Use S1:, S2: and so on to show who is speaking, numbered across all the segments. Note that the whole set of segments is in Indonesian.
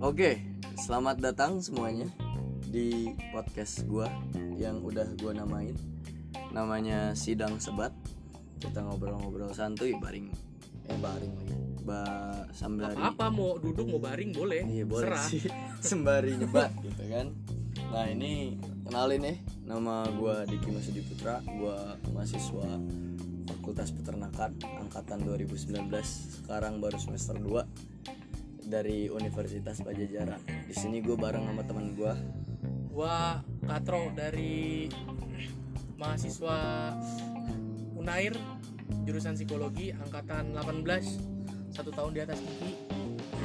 S1: Oke, selamat datang semuanya di podcast gua yang udah gua namain. Namanya Sidang Sebat. Kita ngobrol-ngobrol santuy baring eh baring lagi. Ba sembari
S2: apa mau duduk mau baring boleh
S1: Iya boleh
S2: serah
S1: sih sembari nyebat gitu kan. Nah, ini kenalin nih nama gua Diki Masudi Putra, gua mahasiswa Fakultas Peternakan angkatan 2019, sekarang baru semester 2 dari Universitas Pajajaran. Di sini gue bareng sama teman gua
S2: gua katro dari mahasiswa unair jurusan psikologi angkatan 18 satu tahun di atas Kiki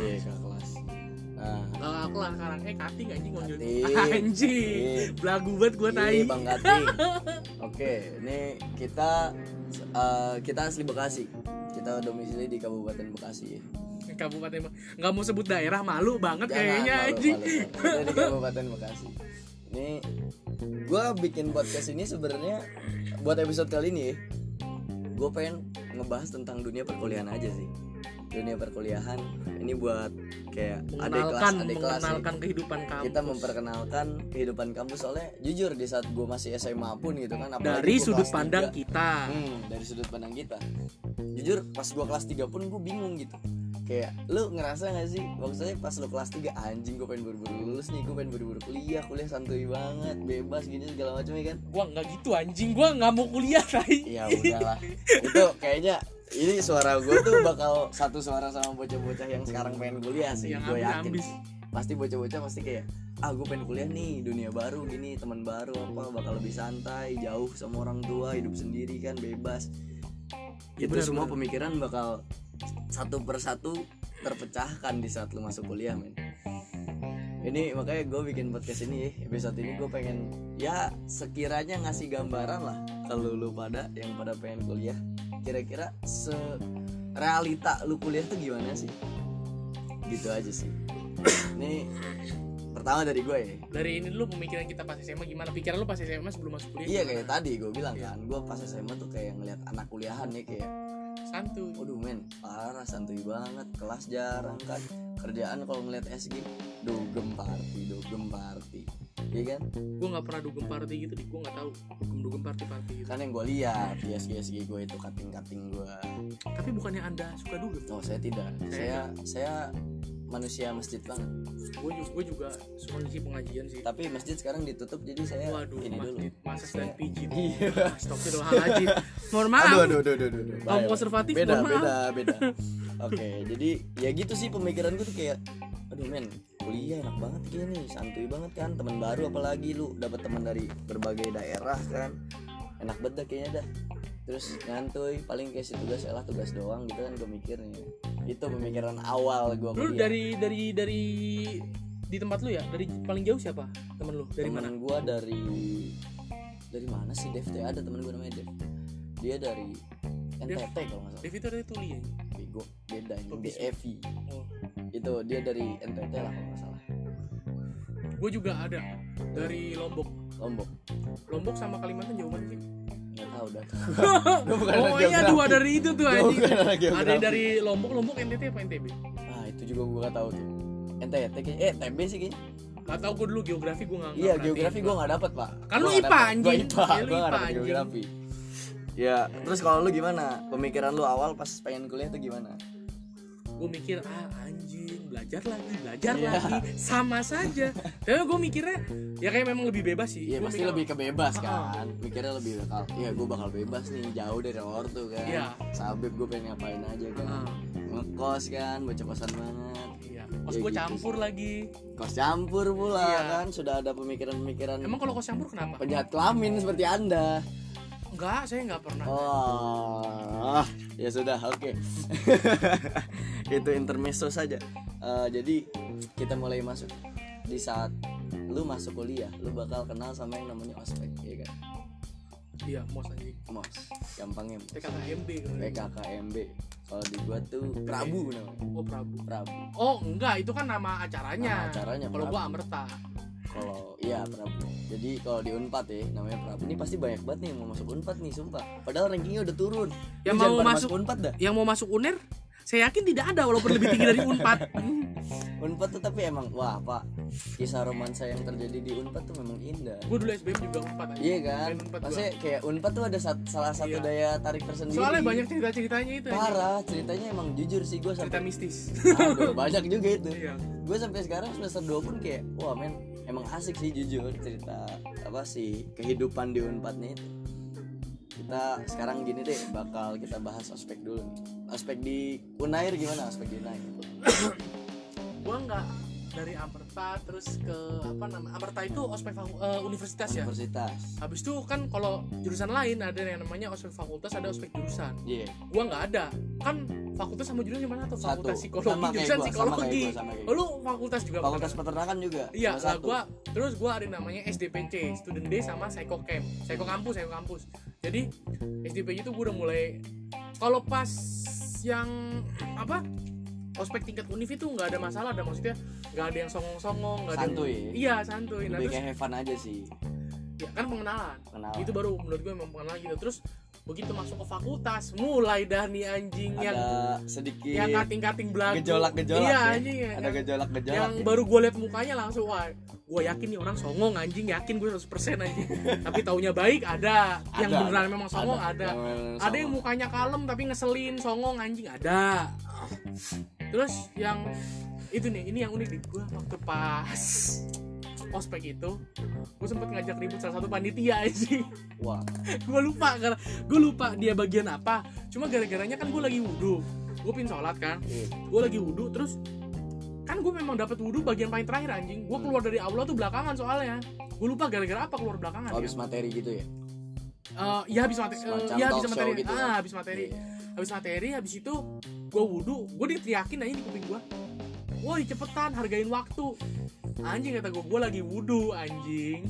S1: Iya, kakak kelas. Nah,
S2: Eh, aku lah sekarang eh kating anjing ngonjol
S1: Kating.
S2: anjing belagu banget gua tai
S1: Iya, Bang Gating. Oke, ini kita eh, kita asli Bekasi. Kita domisili di Kabupaten Bekasi.
S2: Eh, kabupaten Bang. nggak mau sebut daerah malu banget
S1: Jangan,
S2: Nah, kayaknya
S1: malu,
S2: anjing
S1: malu, malu. Kita di Kabupaten Bekasi. Ini gue bikin podcast ini sebenarnya buat episode kali ini gue pengen ngebahas tentang dunia perkuliahan aja sih dunia perkuliahan ini buat kayak adik kelas
S2: mengenalkan
S1: adik kelas sih.
S2: mengenalkan kehidupan kamu
S1: kita memperkenalkan kehidupan kampus soalnya jujur di saat gue masih SMA pun gitu kan apalagi
S2: dari
S1: gua
S2: sudut
S1: kelas
S2: pandang
S1: tiga.
S2: kita
S1: Hmm, dari sudut pandang kita jujur pas gue kelas 3 pun gue bingung gitu kayak lu ngerasa gak sih maksudnya pas lu kelas 3 anjing gue pengen buru-buru lulus nih gue pengen buru-buru kuliah kuliah santuy banget bebas gini segala macam ya kan
S2: gua nggak gitu anjing gua nggak mau kuliah tai
S1: ya udahlah itu kayaknya ini suara gue tuh bakal satu suara sama bocah-bocah yang sekarang pengen kuliah sih Iya,
S2: Yang
S1: gue yakin
S2: ambis-ambis.
S1: pasti bocah-bocah pasti kayak ah gue pengen kuliah nih dunia baru gini teman baru apa bakal lebih santai jauh sama orang tua hidup sendiri kan bebas
S2: Iya,
S1: itu
S2: benar,
S1: semua
S2: benar.
S1: pemikiran bakal satu persatu terpecahkan di saat lu masuk kuliah men ini makanya gue bikin podcast ini ya. episode ini gue pengen ya sekiranya ngasih gambaran lah kalau lu pada yang pada pengen kuliah kira-kira se realita lu kuliah tuh gimana sih gitu aja sih ini pertama dari gue ya
S2: dari ini dulu pemikiran kita pas SMA gimana pikiran lu pas SMA sebelum masuk kuliah
S1: iya
S2: gimana?
S1: kayak tadi gue bilang kan gue pas SMA tuh kayak ngeliat anak kuliahan ya kayak
S2: santuy
S1: Waduh men, parah santuy banget, kelas jarang kan Kerjaan kalau ngeliat SG, dogem party, dogem party Iya kan?
S2: gue nggak pernah dugem party gitu di gue nggak tahu dugem dugem party party gitu
S1: Kan yang gue lihat di SG-SG gue itu kating-kating gue
S2: tapi bukannya anda suka dugem
S1: Oh saya tidak, saya saya manusia masjid banget
S2: gue juga gue juga suka ngisi pengajian sih
S1: Tapi masjid sekarang ditutup jadi saya
S2: waduh
S1: ini dulu
S2: masjid masas dan
S1: Saya-
S2: pijit
S1: Iya
S2: Astagfirullahaladzim mohon maaf
S1: Aduh, aduh, aduh, aduh, aduh, aduh.
S2: Kaum
S1: Bye.
S2: konservatif,
S1: beda,
S2: mohon
S1: beda, beda. Oke, jadi ya gitu sih pemikiran gue tuh kayak, aduh men, kuliah enak banget gini, santuy banget kan, teman baru apalagi lu dapat teman dari berbagai daerah kan, enak banget dah kayaknya dah. Terus nyantuy, paling kayak si tugas ya lah tugas doang gitu kan gue mikirnya. Itu pemikiran awal gue
S2: lu
S1: kuliah.
S2: dari dari dari di tempat lu ya dari paling jauh siapa temen lu dari mana
S1: temen gue dari dari mana sih Dev? Tuh, Ada temen gue namanya Dev. Dia dari NTT kalau nggak salah.
S2: Devi itu dari Tuli ya
S1: Bego beda ini
S2: Oh, bisa.
S1: DFI.
S2: oh.
S1: itu dia dari NTT lah kalau nggak salah
S2: gue juga ada dari Lombok
S1: Lombok
S2: Lombok sama Kalimantan jauh banget sih
S1: nggak tahu dah Gua bukan anak
S2: pokoknya
S1: geografi.
S2: dua dari itu tuh
S1: Gua
S2: anjing
S1: bukan anak
S2: ada
S1: geografi.
S2: dari Lombok Lombok NTT apa NTB
S1: ah itu juga gue nggak tahu tuh NTT kayaknya eh TB sih kayaknya
S2: Gak tau gue dulu geografi gue gak
S1: iya geografi gue nggak dapet pak
S2: Kan
S1: Gua
S2: lu
S1: nggak
S2: IPA,
S1: dapet. Gua
S2: anjing.
S1: IPA
S2: Iya, lu
S1: gue nggak
S2: IPA,
S1: dapet
S2: anjing.
S1: geografi ya terus kalau lu gimana pemikiran lu awal pas pengen kuliah tuh gimana
S2: Gue mikir ah anjing belajar lagi belajar
S1: Iya.
S2: lagi sama saja Tapi gue mikirnya ya kayak memang lebih bebas sih
S1: Iya
S2: Gua
S1: pasti
S2: mikir,
S1: lebih kebebas
S2: Ah,
S1: kan Mikirnya lebih bakal Iya gue bakal bebas nih Jauh dari ortu kan
S2: Iya.
S1: Sabib gue pengen ngapain aja kan
S2: Ah.
S1: Ngekos kan Bocah kosan banget
S2: Iya Kos
S1: Ya
S2: gue
S1: gitu
S2: campur lagi
S1: Kos campur pula
S2: Iya.
S1: kan Sudah ada pemikiran-pemikiran
S2: Emang kalau kos campur kenapa?
S1: penjahat kelamin seperti anda
S2: Enggak saya gak pernah
S1: oh ya sudah oke itu intermezzo saja Eh, jadi kita mulai masuk di saat lu masuk kuliah lu bakal kenal sama yang namanya ospek ya kan
S2: Iya mos anjing
S1: mos gampangnya mos.
S2: TKKMB kemarin.
S1: PKKMB kalau di gua tuh Prabu namanya
S2: Oh Prabu
S1: Prabu
S2: Oh enggak itu kan nama
S1: Nama
S2: acaranya
S1: acaranya,
S2: Kalau gue
S1: Prabu.
S2: Amerta
S1: kalau iya Prabu jadi kalau di Unpad ya namanya Prabu ini pasti banyak banget nih yang mau masuk Unpad nih sumpah padahal rankingnya udah turun
S2: Yang
S1: Lu jangan
S2: mau
S1: pada
S2: masuk-
S1: Unpad dah
S2: Yang mau masuk UNER saya yakin tidak ada walaupun lebih tinggi dari Unpad.
S1: Unpad tuh tapi emang wah pak kisah romansa yang terjadi di Unpad tuh memang indah.
S2: gue dulu SBM juga Unpad aja.
S1: Iya kan?
S2: Main Unpad
S1: Pasti kayak Unpad tuh ada sat- salah satu
S2: Iya.
S1: daya tarik tersendiri.
S2: Soalnya banyak cerita-ceritanya itu aja.
S1: parah ceritanya emang jujur sih gue
S2: cerita
S1: sampai
S2: mistis.
S1: Aduh, banyak juga itu.
S2: Iya.
S1: Gue sampai sekarang semester 2 pun kayak wah men emang asik sih jujur cerita apa sih kehidupan di Unpad nih itu. Kita sekarang gini deh bakal kita bahas ospek dulu. nih. Ospek di Unair gimana ospek di Unair?
S2: gue nggak dari Amperta terus ke apa namanya Amperta itu ospek faku- eh, universitas ya.
S1: Universitas.
S2: Habis itu kan kalau jurusan lain ada yang namanya ospek fakultas ada ospek jurusan.
S1: Iya.
S2: Gua nggak ada. Kan fakultas sama jurusan cuma satu,
S1: Satu.
S2: fakultas psikologi
S1: Sama kayak
S2: jurusan
S1: gua, sama
S2: psikologi.
S1: kayak gua, sama kayak
S2: Oh, Lu fakultas juga bukan?
S1: Fakultas peternakan juga.
S2: Iya,
S1: cuma
S2: lah
S1: satu.
S2: gua terus gua ada yang namanya SDPC, Student Day sama Psycho Camp. Psycho kampus, Psycho kampus. Jadi SDPC itu gua udah mulai kalau pas yang apa? Ospek tingkat univ itu nggak ada masalah, ada maksudnya nggak ada yang songong-songong, nggak ada yang
S1: Santuy.
S2: Iya, santuy. Nah,
S1: Lebih
S2: terus
S1: kayak have fun aja sih.
S2: ya kan pengenalan.
S1: Kenal.
S2: Itu baru menurut gue memang pengenalan gitu. Terus begitu masuk ke fakultas, mulai dah nih anjing yang
S1: ada sedikit
S2: yang kating-kating belagu.
S1: gejolak-gejolak ya.
S2: Iya, anjing ya.
S1: ada
S2: yang-
S1: gejolak-gejolak.
S2: yang baru gue liat mukanya langsung wah gue yakin nih orang songong anjing yakin gue 100% anjing tapi taunya baik ada, yang
S1: Ada,
S2: beneran memang songong ada ada,
S1: Yang- sama.
S2: yang mukanya kalem tapi ngeselin songong anjing ada terus yang itu nih ini yang unik di gue waktu pas ospek itu gue sempet ngajak ribut salah satu panitia anjing
S1: wah
S2: gue lupa karena gue lupa dia bagian apa cuma gara-garanya kan gue lagi wudhu gue pin sholat kan
S1: eh,
S2: gue lagi wudhu terus kan gue memang dapat wudhu bagian paling terakhir anjing gue keluar dari aula tuh belakangan soalnya gue lupa gara-gara apa keluar belakangan
S1: habis
S2: ya
S1: materi gitu ya.
S2: Eh, iya habis materi
S1: Semacam
S2: ya habis
S1: talk show
S2: materi
S1: gitu
S2: ah
S1: kan?
S2: habis materi
S1: Iya.
S2: habis materi habis itu gue wudhu gue diteriakin aja di kuping gue woi cepetan hargain waktu anjing kata gue gue lagi wudhu anjing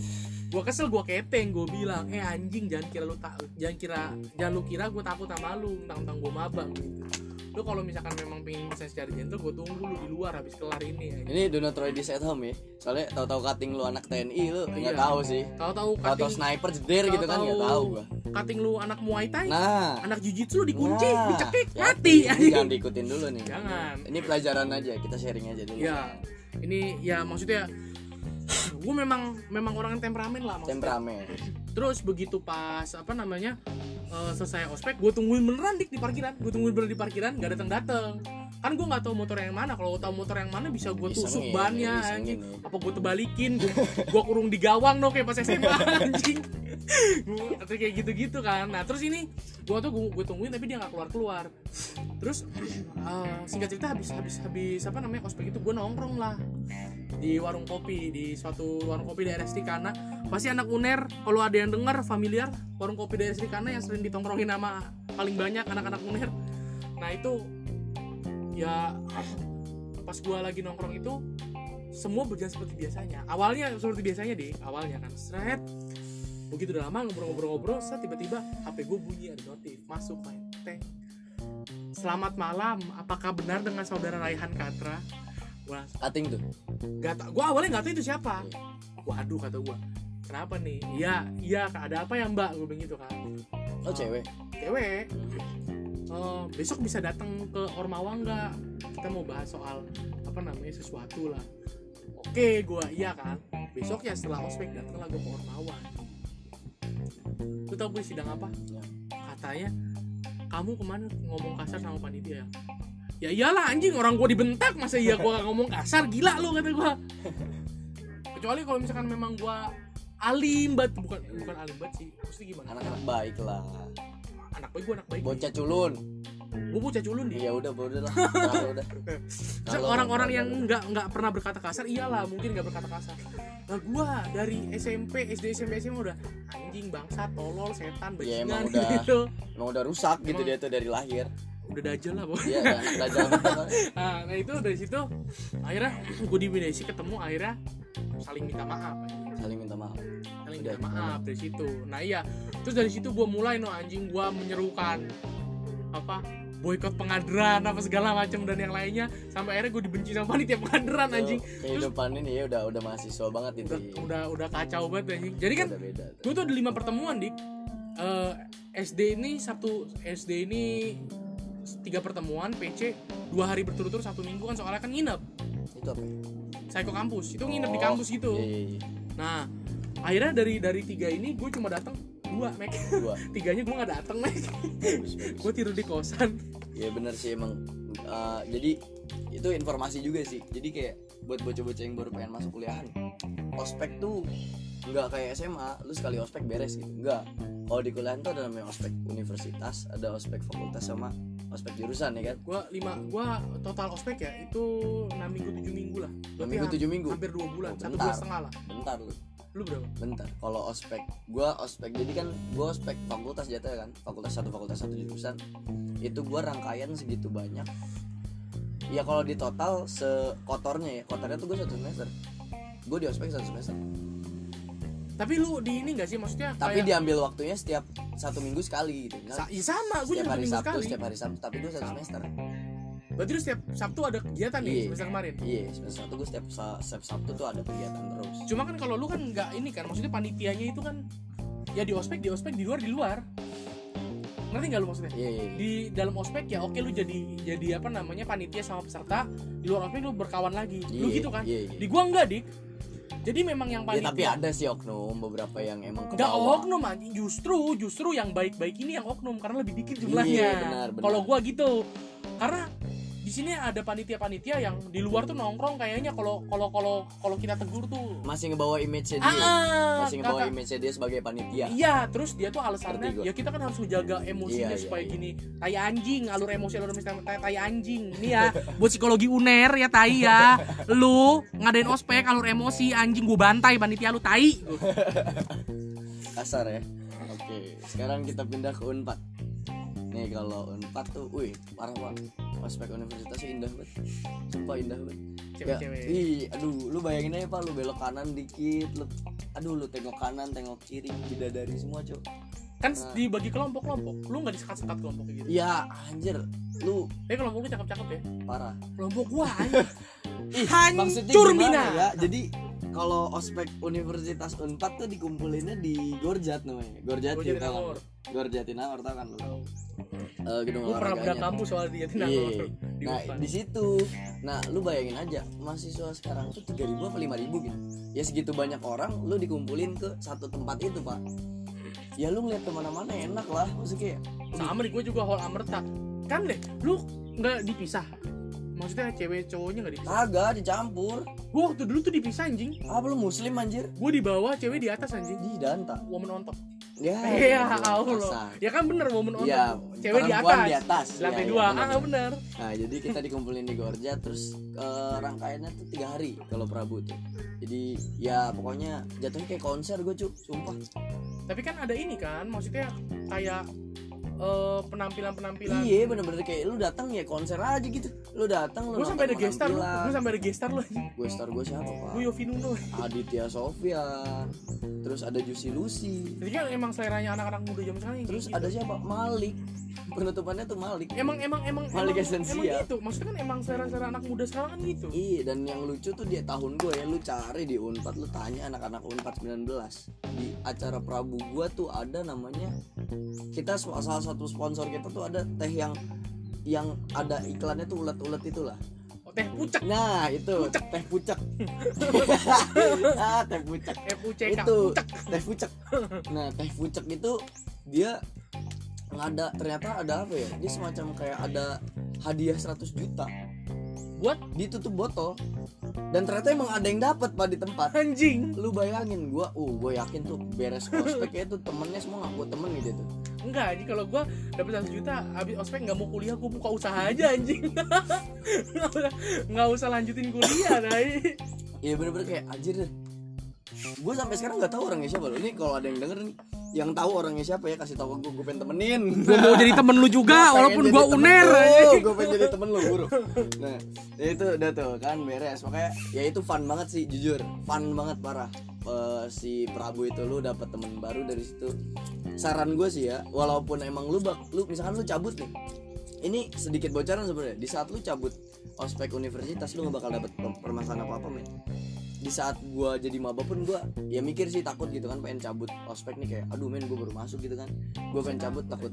S2: gue kesel gue keteng gue bilang eh anjing jangan kira lu tak jangan kira jangan lu kira gue takut sama lu tentang gue mabang gitu lu kalau misalkan memang pengen bisa secara gentle gue tunggu lu di luar habis kelar ini ya. anjing.
S1: Ini do not try this at home ya. Soalnya tahu-tahu cutting lu anak TNI lu nggak
S2: Iya.
S1: tahu sih.
S2: tahu-tahu
S1: Tahu-tahu
S2: cutting
S1: sniper jeder gitu kan nggak tahu
S2: tahu-tahu
S1: gua.
S2: cutting lu anak muay thai
S1: Nah,
S2: anak jujitsu lu dikunci
S1: nah,
S2: dicekik
S1: hati.
S2: mati
S1: Ini Jangan diikutin dulu nih.
S2: jangan
S1: Ini pelajaran aja, kita sharing aja dulu.
S2: ya ini ya maksudnya gue memang memang orang yang temperamen lah maksudnya.
S1: Temperamen.
S2: terus begitu pas apa namanya eh, selesai ospek gue tungguin beneran dik di parkiran gue tungguin beneran di parkiran gak datang datang kan gue nggak tahu motor yang mana kalau tahu motor yang mana bisa gue tusuk
S1: Isengin,
S2: bannya
S1: isengin,
S2: anjing
S1: ya.
S2: apa gue tebalikin gue gue kurung di gawang no kayak pas SMA anjing Gua- atau kayak gitu-gitu kan nah terus ini gue tuh gue tungguin tapi dia nggak keluar keluar terus eh, singkat cerita habis habis habis apa namanya ospek itu gue nongkrong lah di warung kopi di suatu warung kopi daerah Srikana pasti anak uner kalau ada yang dengar familiar warung kopi daerah Srikana yang sering ditongkrongin sama paling banyak anak-anak uner nah itu ya pas gua lagi nongkrong itu semua berjalan seperti biasanya awalnya seperti biasanya deh awalnya kan seret begitu udah lama ngobrol-ngobrol-ngobrol saya tiba-tiba HP gue bunyi ada notif masuk main teh selamat malam apakah benar dengan saudara Raihan Katra gua langsung
S1: Cutting tuh.
S2: gak tau gue awalnya gak tau itu siapa waduh kata gue kenapa nih iya iya Kak, ada apa ya mbak gue begitu kan
S1: Oh, cewek.
S2: cewek eh, besok bisa datang ke Ormawa nggak kita mau bahas soal apa namanya sesuatu lah oke gue iya kan besok ya setelah ospek datanglah gue ke Ormawa lu tau gue sidang apa
S1: Ya.
S2: katanya kamu kemana ngomong kasar sama panitia ya ya iyalah anjing orang gua dibentak masa iya gua gak ngomong kasar gila lo kata gua kecuali kalau misalkan memang gua alim banget bukan bukan alim banget sih mesti gimana
S1: Anak-anak baik lah.
S2: anak baik gua anak baik
S1: Bocah culun.
S2: gua bocah culun dia
S1: Ya udah udah lah. Terlalu udah.
S2: Terus orang-orang yang nggak nggak pernah berkata kasar iyalah mungkin nggak berkata kasar nah gua dari SMP SD SMP SMA udah anjing bangsa tolol setan
S1: Ya,
S2: bajingan
S1: emang udah.
S2: gitu
S1: emang udah rusak gitu
S2: Emang-
S1: dia tuh dari lahir.
S2: udah dajal lah pokoknya.
S1: Iya, anak dajal gitu kan.
S2: nah, nah itu dari situ akhirnya gue di Indonesia ketemu akhirnya saling minta maaf
S1: Saling minta maaf.
S2: saling minta maaf dari situ nah iya terus dari situ gue mulai no anjing gue menyerukan apa boykot pengaderan apa segala macam dan yang lainnya sampai akhirnya gue dibenci sama panitia pengaderan anjing
S1: Tuh, kehidupan ini ya udah udah mahasiswa banget itu
S2: udah udah, udah kacau banget anjing jadi kan
S1: udah beda tuh.
S2: gue tuh ada lima pertemuan dik Eh, SD ini Sabtu SD ini tiga pertemuan PC dua hari berturut-turut satu minggu kan soalnya kan nginep
S1: itu apa ya?
S2: saya ke kampus itu nginep di
S1: Oh,
S2: kampus gitu
S1: iya, iya, iya.
S2: nah akhirnya dari dari tiga ini gue cuma datang dua mek
S1: dua
S2: tiganya gue nggak datang mek
S1: Bagus, bagus.
S2: gue tidur di kosan
S1: ya bener sih emang Eh, jadi itu informasi juga sih jadi kayak buat bocah-bocah yang baru pengen masuk kuliahan ospek tuh nggak kayak SMA lu sekali ospek beres gitu nggak kalau di kuliahan tuh ada namanya ospek universitas ada ospek fakultas sama ospek jurusan ya kan
S2: gue lima gue total ospek ya itu enam minggu tujuh minggu lah
S1: Enam
S2: Berarti
S1: minggu,
S2: ha-
S1: tujuh minggu?
S2: hampir dua bulan
S1: Oh,
S2: satu
S1: bentar.
S2: bulan setengah lah
S1: bentar lu
S2: lu berapa
S1: bentar kalau ospek gua ospek jadi kan gua ospek fakultas jatuh kan fakultas satu fakultas satu jurusan itu gua rangkaian segitu banyak ya kalau di total sekotornya ya kotornya tuh gua satu semester gua di ospek satu semester
S2: tapi lu di ini gak sih maksudnya
S1: tapi
S2: kayak,
S1: diambil waktunya setiap satu minggu sekali gitu
S2: Oh, iya. Sa-
S1: Misal,
S2: ya sama gue
S1: setiap
S2: juga
S1: hari
S2: minggu
S1: sabtu
S2: sekali
S1: setiap hari sabtu tapi gue satu semester
S2: berarti lu setiap sabtu ada kegiatan nih
S1: Iya.
S2: semester kemarin
S1: iya semester satu gue setiap, sa- setiap sabtu tuh ada kegiatan terus
S2: cuma kan kalau lu kan nggak ini kan maksudnya panitianya itu kan ya di ospek di ospek di luar di luar ngerti nggak lu maksudnya
S1: iya iya iya.
S2: di dalam ospek ya oke lu jadi jadi apa namanya panitia sama peserta di luar ospek lu berkawan lagi lu
S1: Iya,
S2: gitu kan
S1: iya, iya.
S2: di gua enggak dik jadi memang yang
S1: Ya,
S2: panitia
S1: tapi ada sih oknum beberapa yang emang ke
S2: Gak
S1: bawah.
S2: oknum anjing justru justru yang baik-baik ini yang oknum karena lebih dikit
S1: Iya, benar,
S2: jumlahnya.
S1: benar.
S2: Kalau gua gitu. Karena di sini ada panitia-panitia yang di luar tuh nongkrong kayaknya kalau kalau kalau kalau kita tegur tuh
S1: masih ngebawa image dia
S2: ah,
S1: masih ngebawa
S2: kata-
S1: image dia sebagai panitia
S2: Iya, terus dia tuh
S1: Ngerti
S2: alasannya
S1: gua.
S2: ya kita kan harus menjaga
S1: Iya,
S2: emosinya
S1: iya,
S2: supaya
S1: iya.
S2: gini. Tai anjing, alur emosi alur emosi tai, tai anjing. Ini ya buat psikologi UNER ya tai ya. Lu ngadain ospek alur emosi anjing gua bantai panitia lu tai.
S1: kasar ya oke sekarang kita pindah ke unpad nih kalau unpad tuh wih parah banget ospek universitas tuh indah banget sumpah indah banget Ya,
S2: Cewek-cewek.
S1: ih, aduh, lu bayangin aja pak, lu belok kanan dikit, lu, aduh, lu tengok kanan, tengok kiri, bidadari semua cok.
S2: Kan
S1: Nah.
S2: dibagi kelompok-kelompok. Lu nggak disekat-sekat kelompok kayak gitu.
S1: Ya anjir, lu
S2: Tapi kelompok lu cakep-cakep ya.
S1: parah.
S2: Kelompok gua
S1: Ih, maksudnya
S2: hancur
S1: gimana
S2: mina.
S1: ya? Jadi kalau ospek Universitas Unpad tuh dikumpulinnya di Gorjat namanya. Gorjat
S2: Gorjat
S1: kita
S2: Timur.
S1: Gorjat Timur tau kan lu? Eh, gedung
S2: Gua pernah bedak
S1: olahraganya.
S2: kampus soal dia tenang.
S1: Iya.
S2: Di
S1: Nah,
S2: depan.
S1: di situ. Nah, lu bayangin aja, mahasiswa sekarang tuh 3000 apa 5000 gitu. Ya segitu banyak orang lu dikumpulin ke satu tempat itu, Pak. Ya lu ngeliat kemana-mana enak lah Maksudnya kayak
S2: Sama di gua juga hall amerta. Kan deh, lu nggak dipisah. Maksudnya cewek cowoknya nggak dipisah.
S1: Kagak dicampur
S2: Gua waktu dulu tuh dipisah anjing.
S1: Apa lu muslim anjir?
S2: Gua di bawah, cewek di atas anjing.
S1: Di danta
S2: Woman on top.
S1: Ya
S2: Iya,
S1: kasar.
S2: Allah. Ya kan bener woman on
S1: Iya,
S2: top. Cewek di
S1: perempuan
S2: atas.
S1: di atas.
S2: Di
S1: Iya,
S2: Lantai
S1: iya,
S2: dua.
S1: bener,
S2: Ah, bener.
S1: Nah, jadi kita dikumpulin di Gorja terus eh, rangkaiannya tuh tiga hari kalau Prabu tuh. Jadi ya pokoknya jatuhnya kayak konser gue cuk, sumpah.
S2: Tapi kan ada ini kan, maksudnya kayak eh, penampilan-penampilan
S1: Iya bener-bener kayak lu datang ya konser aja gitu Lu datang lu
S2: Gua sampai ada
S1: nonton
S2: gestar lu,
S1: penampilan.
S2: gua sampai ada gestar lu. anjing.
S1: Gue star gue siapa pak?
S2: Gua Yofi Nuno.
S1: Aditya Sofyan Terus ada Juicy Lucy
S2: Jadi kan emang seleranya anak-anak muda zaman sekarang yang
S1: Terus
S2: kayak
S1: ada siapa? Malik Penutupannya tuh Malik
S2: gitu. emang emang emang
S1: Malik
S2: emang,
S1: Esensia.
S2: emang gitu. Maksudnya kan emang selera-selera anak muda sekarang kan gitu.
S1: Iya dan yang lucu tuh dia tahun gue ya Lu cari di Unpad Lu tanya anak-anak Unpad 19 Di acara Prabu gue tuh ada namanya Kita sp- salah satu sponsor kita tuh ada teh yang yang ada iklannya tuh ulet-ulet itulah
S2: Oh, teh pucek,
S1: Nah itu teh pucek ah, Teh pucek
S2: F U C K.
S1: itu teh pucek nah teh pucek itu dia ngada ternyata ada apa ya dia semacam kayak ada hadiah 100 juta
S2: Buat
S1: ditutup botol dan ternyata emang ada yang dapat pak di tempat
S2: anjing.
S1: lu bayangin gua uh gue yakin tuh beres ospek ya tuh temennya semua ngaku temen gitu tuh
S2: Enggak, anjing kalau gua dapat 1 juta habis ospek nggak mau kuliah, gua buka usaha aja anjing. Nggak usah- Nggak usah lanjutin kuliah, Dai.
S1: ya bener-bener kayak anjir deh gue sampai sekarang nggak tahu orangnya siapa loh ini kalau ada yang denger nih yang tahu orangnya siapa ya kasih tahu ke gue gue pengen temenin
S2: Gua mau jadi temen lu juga Nah, walaupun gua uner.
S1: gue pengen jadi temen lu buru nah ya itu udah tuh kan beres makanya ya itu fun banget sih jujur fun banget parah Eh, si Prabu itu lu dapat temen baru dari situ saran gue sih ya walaupun emang lu bak lu misalkan lu cabut nih ini sedikit bocoran sebenarnya di saat lu cabut ospek universitas lu gak bakal dapet permasalahan apa apa men di saat gua jadi maba pun gua ya mikir sih takut gitu kan pengen cabut ospek nih kayak aduh men gua baru masuk gitu kan gua pengen cabut takut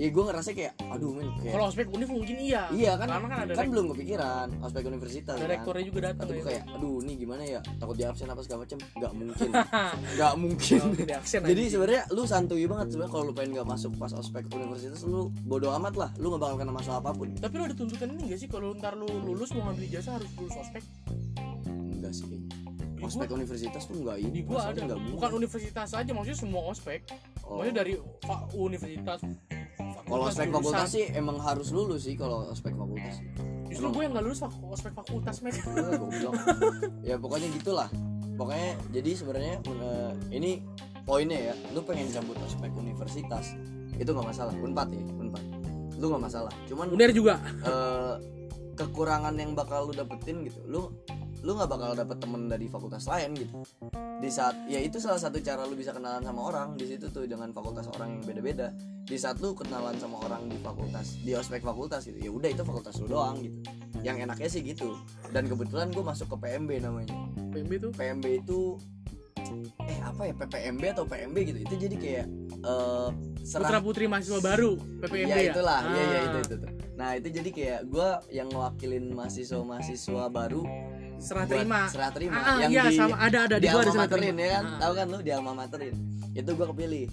S1: ya gua ngerasa kayak aduh men kayak
S2: Kalau ospek univ mungkin iya.
S1: iya kan
S2: Karena kan
S1: kan,
S2: ada rek-
S1: belum kepikiran ospek universitas
S2: ada
S1: kan
S2: rektornya juga datang
S1: tapi
S2: ya.
S1: gua kayak aduh nih gimana ya takut di absen apa segala macem nggak mungkin nggak mungkin
S2: Kalau tidak absen
S1: jadi
S2: anjing.
S1: sebenarnya lu santuy banget sebenarnya kalau lu pengen nggak masuk pas ospek universitas lu bodoh amat lah lu nggak bakal kena masalah apapun
S2: tapi lu ada tuntutan ini gak sih kalau ntar lu lulus mau ngambil ijazah harus lulus ospek?
S1: enggak sih kayaknya.
S2: Di
S1: ospek
S2: gua,
S1: universitas tuh nggak ini
S2: di gua
S1: masalahnya
S2: ada.
S1: nggak mungkin.
S2: Bukan universitas aja maksudnya semua ospek.
S1: Oh.
S2: Maksudnya dari fa- universitas. fakultas,
S1: Kalau ospek
S2: jurusan.
S1: fakultas sih emang harus lulus sih kalau ospek fakultas.
S2: Justru
S1: emang.
S2: gue yang gak lulus fak- ospek fakultas men.
S1: Eh, goblok. ya pokoknya gitulah. Pokoknya jadi sebenarnya eh, ini poinnya ya, lu pengen cabut ospek universitas itu nggak masalah. Unpad ya, unpad. Lu nggak masalah. Cuman
S2: Uner juga.
S1: eh, kekurangan yang bakal lu dapetin gitu, lu lu nggak bakal dapet temen dari fakultas lain gitu. Di saat ya itu salah satu cara lu bisa kenalan sama orang di situ tuh dengan fakultas orang yang beda-beda. Di saat lu kenalan sama orang di fakultas, di ospek fakultas gitu, ya udah itu fakultas lu doang gitu. Yang enaknya ssih gitu. Dan kebetulan gue masuk ke PMB namanya.
S2: PMB tuh
S1: PMB itu eh apa ya PPMB atau PMB gitu. Itu jadi kayak eh serang-
S2: Putra Putri Mahasiswa Baru PPMB ya.
S1: ya itulah ya ya
S2: Ah.
S1: itu itu tuh. nah itu jadi kayak gue yang ngewakilin mahasiswa mahasiswa baru
S2: Serah
S1: buat
S2: terima.
S1: serah terima
S2: Ah, ah,
S1: yang
S2: iya,
S1: di
S2: sama ada ada
S1: di
S2: di gua ada
S1: alma
S2: serah
S1: materin
S2: terima.
S1: ya kan
S2: Ah.
S1: tahu kan lu di alma materin itu gue kepilih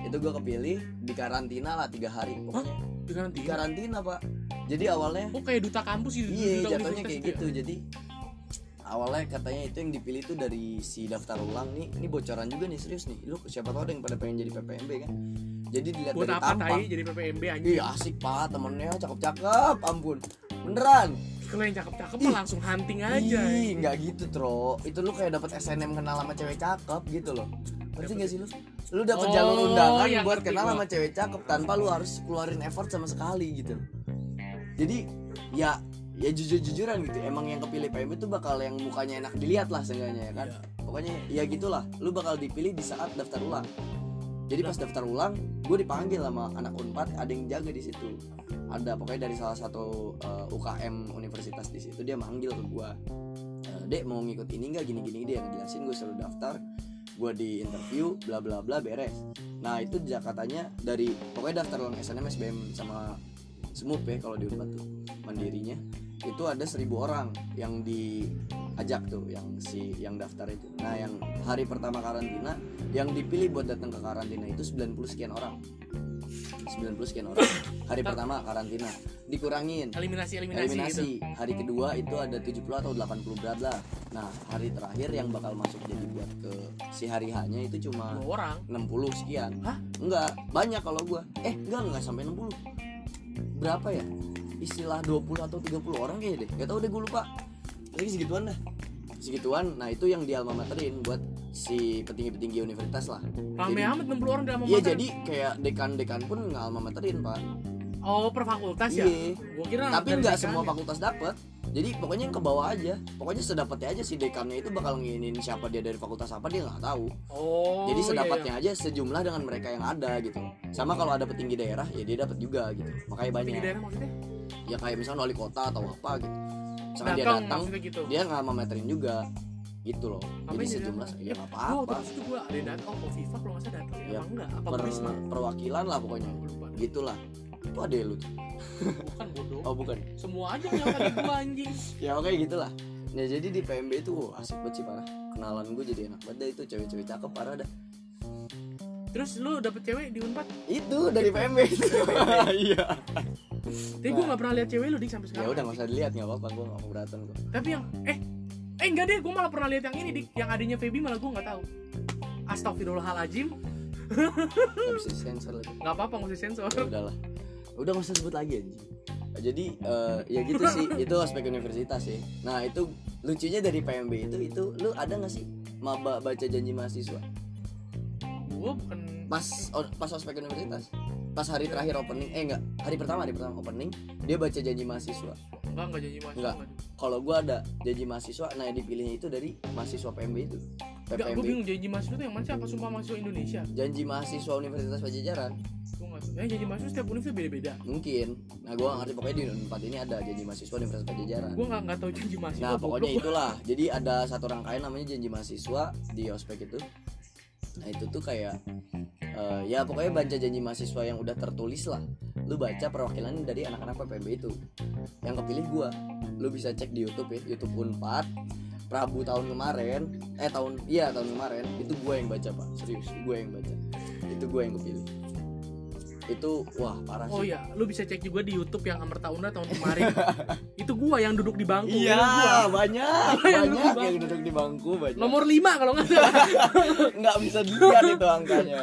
S1: itu gue kepilih di karantina lah tiga hari pokoknya
S2: Di karantina.
S1: di karantina pak jadi awalnya
S2: Oh kayak duta kampus gitu.
S1: iya
S2: duta
S1: jatuhnya
S2: universitas
S1: kayak gitu jadi awalnya katanya itu yang dipilih tuh dari si daftar ulang nih ini bocoran juga nih serius nih lu siapa tau ada yang pada pengen jadi PPMB kan jadi
S2: ya.
S1: dilihat
S2: Buat
S1: dari
S2: apa
S1: tampang
S2: tai jadi PPMB anjing?
S1: Iya asik pak temennya cakep-cakep ampun beneran
S2: Kalau yang cakep-cakep mah langsung hunting aja.
S1: Ih nggak gitu tro itu lu kayak dapet SNM kenal sama cewek cakep gitu loh ngerti nggak sih lu lu dapet
S2: Oh,
S1: jalur undangan
S2: iya,
S1: buat
S2: ngerti
S1: kenal
S2: gua.
S1: sama cewek cakep tanpa lu harus keluarin effort sama sekali gitu jadi ya ya jujur-jujuran gitu emang yang kepilih PMB tuh bakal yang mukanya enak dilihat lah seenggaknya ya kan
S2: Iya.
S1: pokoknya ya gitulah lu bakal dipilih di saat daftar ulang jadi
S2: Iya.
S1: pas daftar ulang gue dipanggil sama anak unpad ada yang jaga di situ ada pokoknya dari salah satu eh, UKM universitas di situ dia manggil ke gue dek mau ngikut ini nggak gini gini dia yang jelasin gue selalu daftar gue di interview bla bla bla beres nah itu dia katanya dari pokoknya daftar ulang SNM SBM sama SMUP ya kalau di Unpad tuh mandirinya itu ada seribu orang yang diajak tuh yang si yang daftar itu nah yang hari pertama karantina yang dipilih buat datang ke karantina itu 90 sekian orang 90 sekian orang hari pertama karantina dikurangin
S2: Eliminasi eliminasi, gitu.
S1: eliminasi hari kedua itu ada 70 atau 80 berat lah nah hari terakhir yang bakal masuk jadi buat ke si hari hanya itu cuma
S2: Dua orang.
S1: 60 sekian
S2: Hah?
S1: enggak banyak kalau gua eh enggak enggak sampai 60 berapa ya istilah 20 atau 30 orang kayaknya deh gak tau deh gua lupa lagi segituan dah segituan nah itu yang di alma materin buat si petinggi-petinggi universitas lah
S2: Rame
S1: Jadi-
S2: amat 60 orang dalam
S1: Iya jadi kayak dekan-dekan pun nggak alma materin pak
S2: Oh, per fakultas ya?
S1: Iya.
S2: Gua kira
S1: tapi
S2: dari
S1: nggak
S2: dekan
S1: semua
S2: ya.
S1: fakultas dapat jadi pokoknya yang ke bawah aja pokoknya sedapatnya aja si dekannya itu bakal nginin siapa dia dari fakultas apa dia nggak tahu
S2: Oh.
S1: jadi
S2: iya,
S1: sedapatnya aja sejumlah dengan mereka yang ada gitu sama kalau ada petinggi daerah ya dia dapat juga gitu makanya
S2: iya.
S1: banyak
S2: Tinggi daerah maksudnya?
S1: ya kayak misalnya wali kota atau apa gitu misalnya dia
S2: Datang,
S1: datang
S2: maksudnya gitu.
S1: dia nggak memeterin juga gitu loh
S2: Apa
S1: jadi
S2: yang dia
S1: sejumlah
S2: datang?
S1: ya nggak
S2: Gua waktu
S1: apa-apa
S2: pas itu gua ada yang datang, oh Kofifa kalau nggak salah datang ya,
S1: Ya,
S2: apa enggak? Apa
S1: Per-
S2: Risma?
S1: perwakilan lah pokoknya
S2: Gua lupa.
S1: gitulah itu ada lu tuh.
S2: Bukan bodoh.
S1: oh bukan
S2: Semua aja yang kali gua anjing.
S1: ya oke gitulah ya jadi di PMB itu wah, asik banget sih parah kenalan gue jadi enak banget dah itu cewek-cewek cakep parah dah
S2: Terus lu dapet cewek di Unpad?
S1: itu dari PMB itu iya
S2: Tapi gua nggak pernah lihat cewek lu di sampai
S1: Nah. ya
S2: sekarang.
S1: udah nggak usah dilihat nggak apa-apa gue nggak keberatan kok
S2: Tapi yang eh eh enggak deh, gua malah pernah lihat yang ini dik, yang adanya Feby malah gua nggak tahu. Astagfirullahaladzim,
S1: nggak bisa sensor lagi
S2: nggak apa-apa nggak usah sensor.
S1: ya udahlah udah nggak usah sebut lagi anjing Nah, jadi eh, ya gitu sih itu aspek universitas sih nah itu lucunya dari PMB itu itu lu ada nggak sih maba baca janji mahasiswa
S2: Gua bukan
S1: pas o- pas aspek universitas pas hari terakhir opening eh enggak hari pertama hari pertama opening dia baca janji mahasiswa
S2: Enggak, enggak janji mahasiswa.
S1: Enggak. kalau gua ada janji mahasiswa nah yang dipilihnya itu dari mahasiswa PMB itu
S2: Enggak, gue
S1: PPMB
S2: bingung janji mahasiswa itu yang mana sih? Apa sumpah mahasiswa Indonesia?
S1: janji mahasiswa Universitas Pajajaran
S2: gue nggak tahu. Eh, jadi mahasiswa setiap univ tuh beda-beda.
S1: mungkin nah gue ngerti pokoknya di tempat ini ada janji mahasiswa di Universitas Pajajaran
S2: Gue nggak nggak tahu janji mahasiswa.
S1: nah pokoknya
S2: goblok.
S1: itulah jadi ada satu rangkaian namanya janji mahasiswa di ospek itu nah itu tuh kayak eh, ya pokoknya baca janji mahasiswa yang udah tertulis lah lu baca perwakilan dari anak-anak PPMB itu yang kepilih gua lu bisa cek di YouTube ya YouTube Unpad Prabu tahun kemarin eh tahun iya tahun kemarin itu gua yang baca pak serius gua yang baca itu gua yang kepilih itu wah parah sih
S2: Oh iya, lu bisa cek juga di YouTube yang Amerta Una tahun kemarin. itu gua yang duduk di bangku.
S1: Iya,
S2: itu gua.
S1: banyak, banyak
S2: Yang duduk di
S1: yang
S2: bangku.
S1: duduk di bangku banyak.
S2: Nomor 5 kalau nggak salah.
S1: nggak bisa dilihat itu angkanya.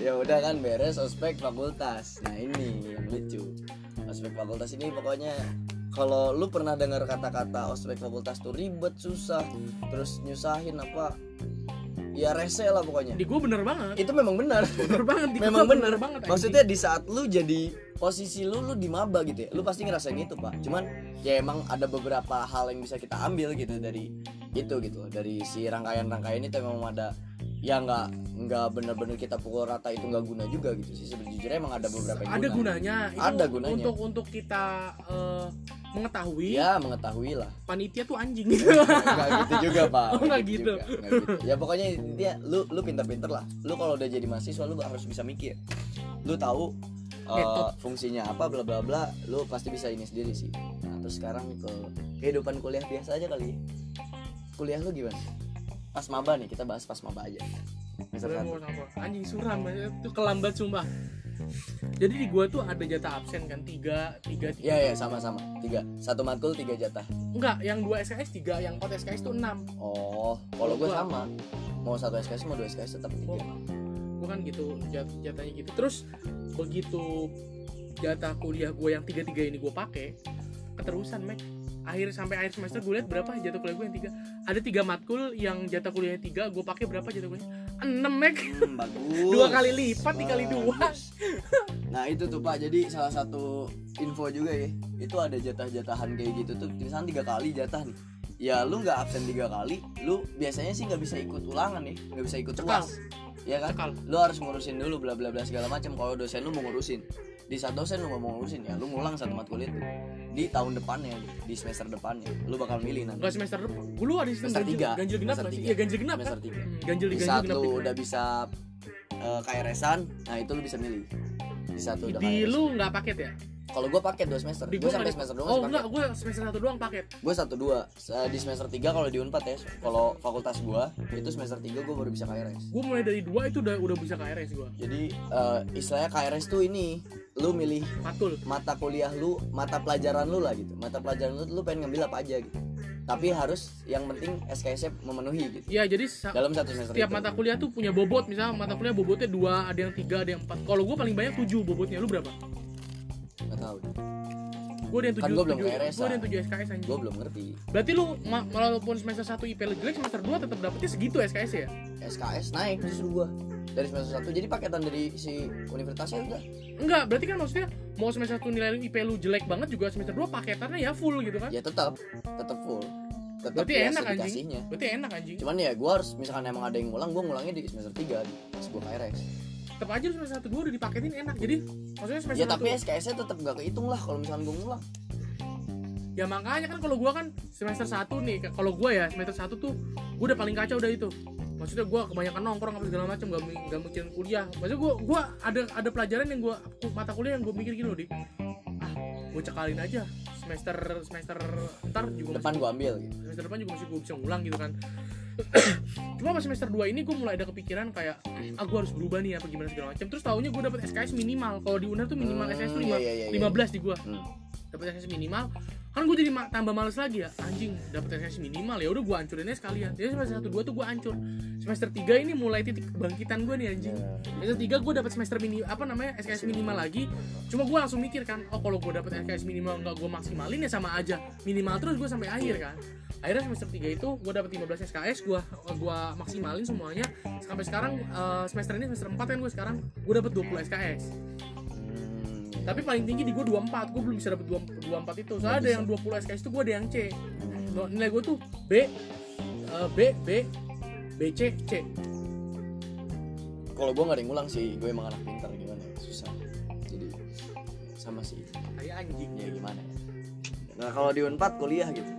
S1: Ya udah kan beres ospek fakultas. Nah ini yang lucu. Ospek fakultas ini pokoknya kalau lu pernah dengar kata-kata ospek fakultas tuh ribet, susah, terus nyusahin apa? Ya rese lah pokoknya.
S2: di gua bener banget.
S1: Itu memang benar.
S2: Bener banget. Di gua
S1: Memang benar.
S2: banget. anjing.
S1: Maksudnya di saat lu jadi posisi lu lu di maba gitu ya. Lu pasti ngerasain itu, Pak. Cuman ya emang ada beberapa hal yang bisa kita ambil gitu dari itu gitu. Dari si rangkaian-rangkaian itu emang ada ya nggak nggak bener-bener kita pukul rata itu nggak guna juga gitu sih sejujurnya emang ada beberapa yang
S2: ada
S1: guna.
S2: gunanya. Itu
S1: Ada gunanya.
S2: Untuk untuk kita eh, mengetahui
S1: ya mengetahui lah
S2: panitia tuh anjing.
S1: nggak gitu juga pak
S2: Oh, nggak
S1: juga.
S2: gitu.
S1: Nggak gitu. ya pokoknya intinya lu lu pinter-pinter lah lu kalau udah jadi mahasiswa lu harus bisa mikir lu tahu eh,
S2: Metode.
S1: fungsinya apa bla bla bla lu pasti bisa ini sendiri sih nah terus sekarang ke kehidupan kuliah biasa aja kali ya. kuliah lu gimana pas maba nih kita bahas pas maba aja Semester satu.
S2: Sebenarnya gua sama. Anjing suram itu kelambat sumpah. Jadi di gua tuh ada jatah absen kan tiga tiga tiga.
S1: Iya ya sama-sama tiga satu matkul tiga jatah
S2: Enggak, yang dua SKS tiga, yang empat SKS tuh enam.
S1: oh kalau gue
S2: Gua-
S1: sama mau satu SKS mau dua SKS tetap
S2: gue
S1: tiga
S2: kan gitu jat- jatahnya gitu terus begitu jatah kuliah gue yang tiga tiga ini gue pakai keterusan Mac akhir sampai akhir semester gue lihat berapa jatah kuliah gue yang tiga ada tiga matkul yang jatah kuliah tiga gue pakai berapa jatah kuliah enam Mac
S1: Hmm, bagus.
S2: dua kali lipat dikali dua
S1: Bagus. Nah itu tuh pak, jadi salah satu info juga ya, itu ada jatah-jatahan kayak gitu tuh, misalnya tiga kali jatah nih. Ya lu nggak absen tiga kali, lu biasanya sih nggak bisa ikut ulangan nih, nggak bisa ikut
S2: Cekal.
S1: uas, ya kan?
S2: Cekal.
S1: Lu harus ngurusin dulu bla bla bla segala macam. Kalau dosen lu mau ngurusin, di saat dosen lu nggak mau ngurusin ya, lu ngulang satu matkul itu di tahun depannya, di semester depannya, lu bakal milih nanti.
S2: Enggak semester depan. Gue lu ada sistem
S1: Semester
S2: ganjil,
S1: tiga.
S2: ganjil genap
S1: Semester
S2: nggak sih?
S1: tiga.
S2: Iya ganjil genap kan?
S1: Semester tiga.
S2: Hmm, ganjil
S1: Di
S2: ganjil
S1: saat
S2: genap.
S1: lu udah bisa eh, KRS-an, nah itu lu bisa milih. Di saat lu udah
S2: di
S1: KRS.
S2: lu nggak paket ya?
S1: Kalau gue paket 2 semester.
S2: Di
S1: Gue
S2: gua
S1: sampai
S2: nggak-
S1: semester
S2: Oh
S1: 2
S2: enggak, gue semester satu doang paket.
S1: Gue satu dua Eh, di semester 3 kalau di Unpad ya. Kalau fakultas gue itu semester 3 gue baru bisa KRS.
S2: Gue mulai dari dua itu udah udah bisa KRS gue.
S1: Jadi eh, istilahnya KRS tuh ini lu milih
S2: Matkul.
S1: mata kuliah lu, mata pelajaran lu lah gitu. Mata pelajaran lu lu pengen ngambil apa aja gitu. Tapi harus yang penting SKS memenuhi gitu.
S2: Ya jadi sa-
S1: Dalam satu semester
S2: setiap
S1: itu.
S2: mata kuliah tuh punya bobot misalnya mata kuliah bobotnya dua ada yang tiga ada yang empat kalau gue paling banyak tujuh bobotnya lu berapa
S1: Nggak tahu.
S2: gue ada yang
S1: Kan
S2: tujuh
S1: gua belum
S2: tujuh-
S1: KRS,
S2: gua ada yang
S1: ah.
S2: tujuh SKS anjing
S1: Gue belum ngerti.
S2: berarti lu ma- walaupun semester satu IP lu jelek semester dua tetap dapetnya segitu SKS ya
S1: SKS naik justru gue dari semester 1 jadi paketan dari si universitasnya udah
S2: enggak berarti kan maksudnya mau semester satu nilai lu IP lu jelek banget juga semester dua paketannya ya full gitu kan
S1: ya tetap tetap full tetap
S2: berarti
S1: ya
S2: enak anjing
S1: sedikasihnya.
S2: berarti enak anjing
S1: cuman ya gue harus misalkan emang ada yang ngulang gue ngulangnya di semester 3 pas gue KRS
S2: tetap aja lu semester satu dua udah dipaketin enak jadi maksudnya semester
S1: ya
S2: satu
S1: tapi SKS nya tetap gak kehitung lah kalau misalkan gue ngulang
S2: ya makanya kan kalau gua kan semester 1 nih k- kalau gua ya semester 1 tuh gua udah paling kacau udah itu maksudnya gua kebanyakan nongkrong apa segala macam gak, mi- gak mikirin kuliah maksudnya gua gua ada ada pelajaran yang gua ku- mata kuliah yang gua mikir gini loh dik ah gua cekalin aja semester semester ntar juga
S1: depan
S2: masih,
S1: gue ambil gitu.
S2: semester depan juga masih gua bisa ngulang gitu kan cuma pas semester 2 ini gua mulai ada kepikiran kayak ah gua harus berubah nih apa gimana segala macam terus tahunya gua dapet SKS minimal kalau di UNER tuh minimal
S1: Hmm,
S2: SKS tuh
S1: iya,
S2: lima-
S1: iya, iya, iya.
S2: 15 di gua
S1: Hmm.
S2: dapat SKS minimal kan gue jadi ma- tambah males lagi ya anjing dapat SKS minimal ya udah gue hancurinnya sekalian jadi semester satu dua tuh gue hancur semester 3 ini mulai titik kebangkitan gue nih anjing
S1: gitu.
S2: semester 3 gue dapat semester mini apa namanya SKS minimal lagi cuma gue langsung mikir kan oh kalau gue dapat SKS minimal nggak gue maksimalin ya sama aja minimal terus gue sampai akhir kan akhirnya semester 3 itu gue dapat 15 SKS gue gua maksimalin semuanya sampai sekarang eh, semester ini semester 4 kan gue sekarang gue dapat 20 SKS
S1: Hmm, ya.
S2: tapi paling tinggi di gue 24 gue belum bisa dapet 2- 24 itu soalnya ada yang 20 SKS itu gue ada yang C No, nilai gue tuh B eh, B B B C C
S1: kalau gue gak ada yang ngulang sih gue emang anak pintar gimana ya susah jadi sama sih
S2: kayak anjing
S1: ya gimana ya nah kalau di unpad kuliah gitu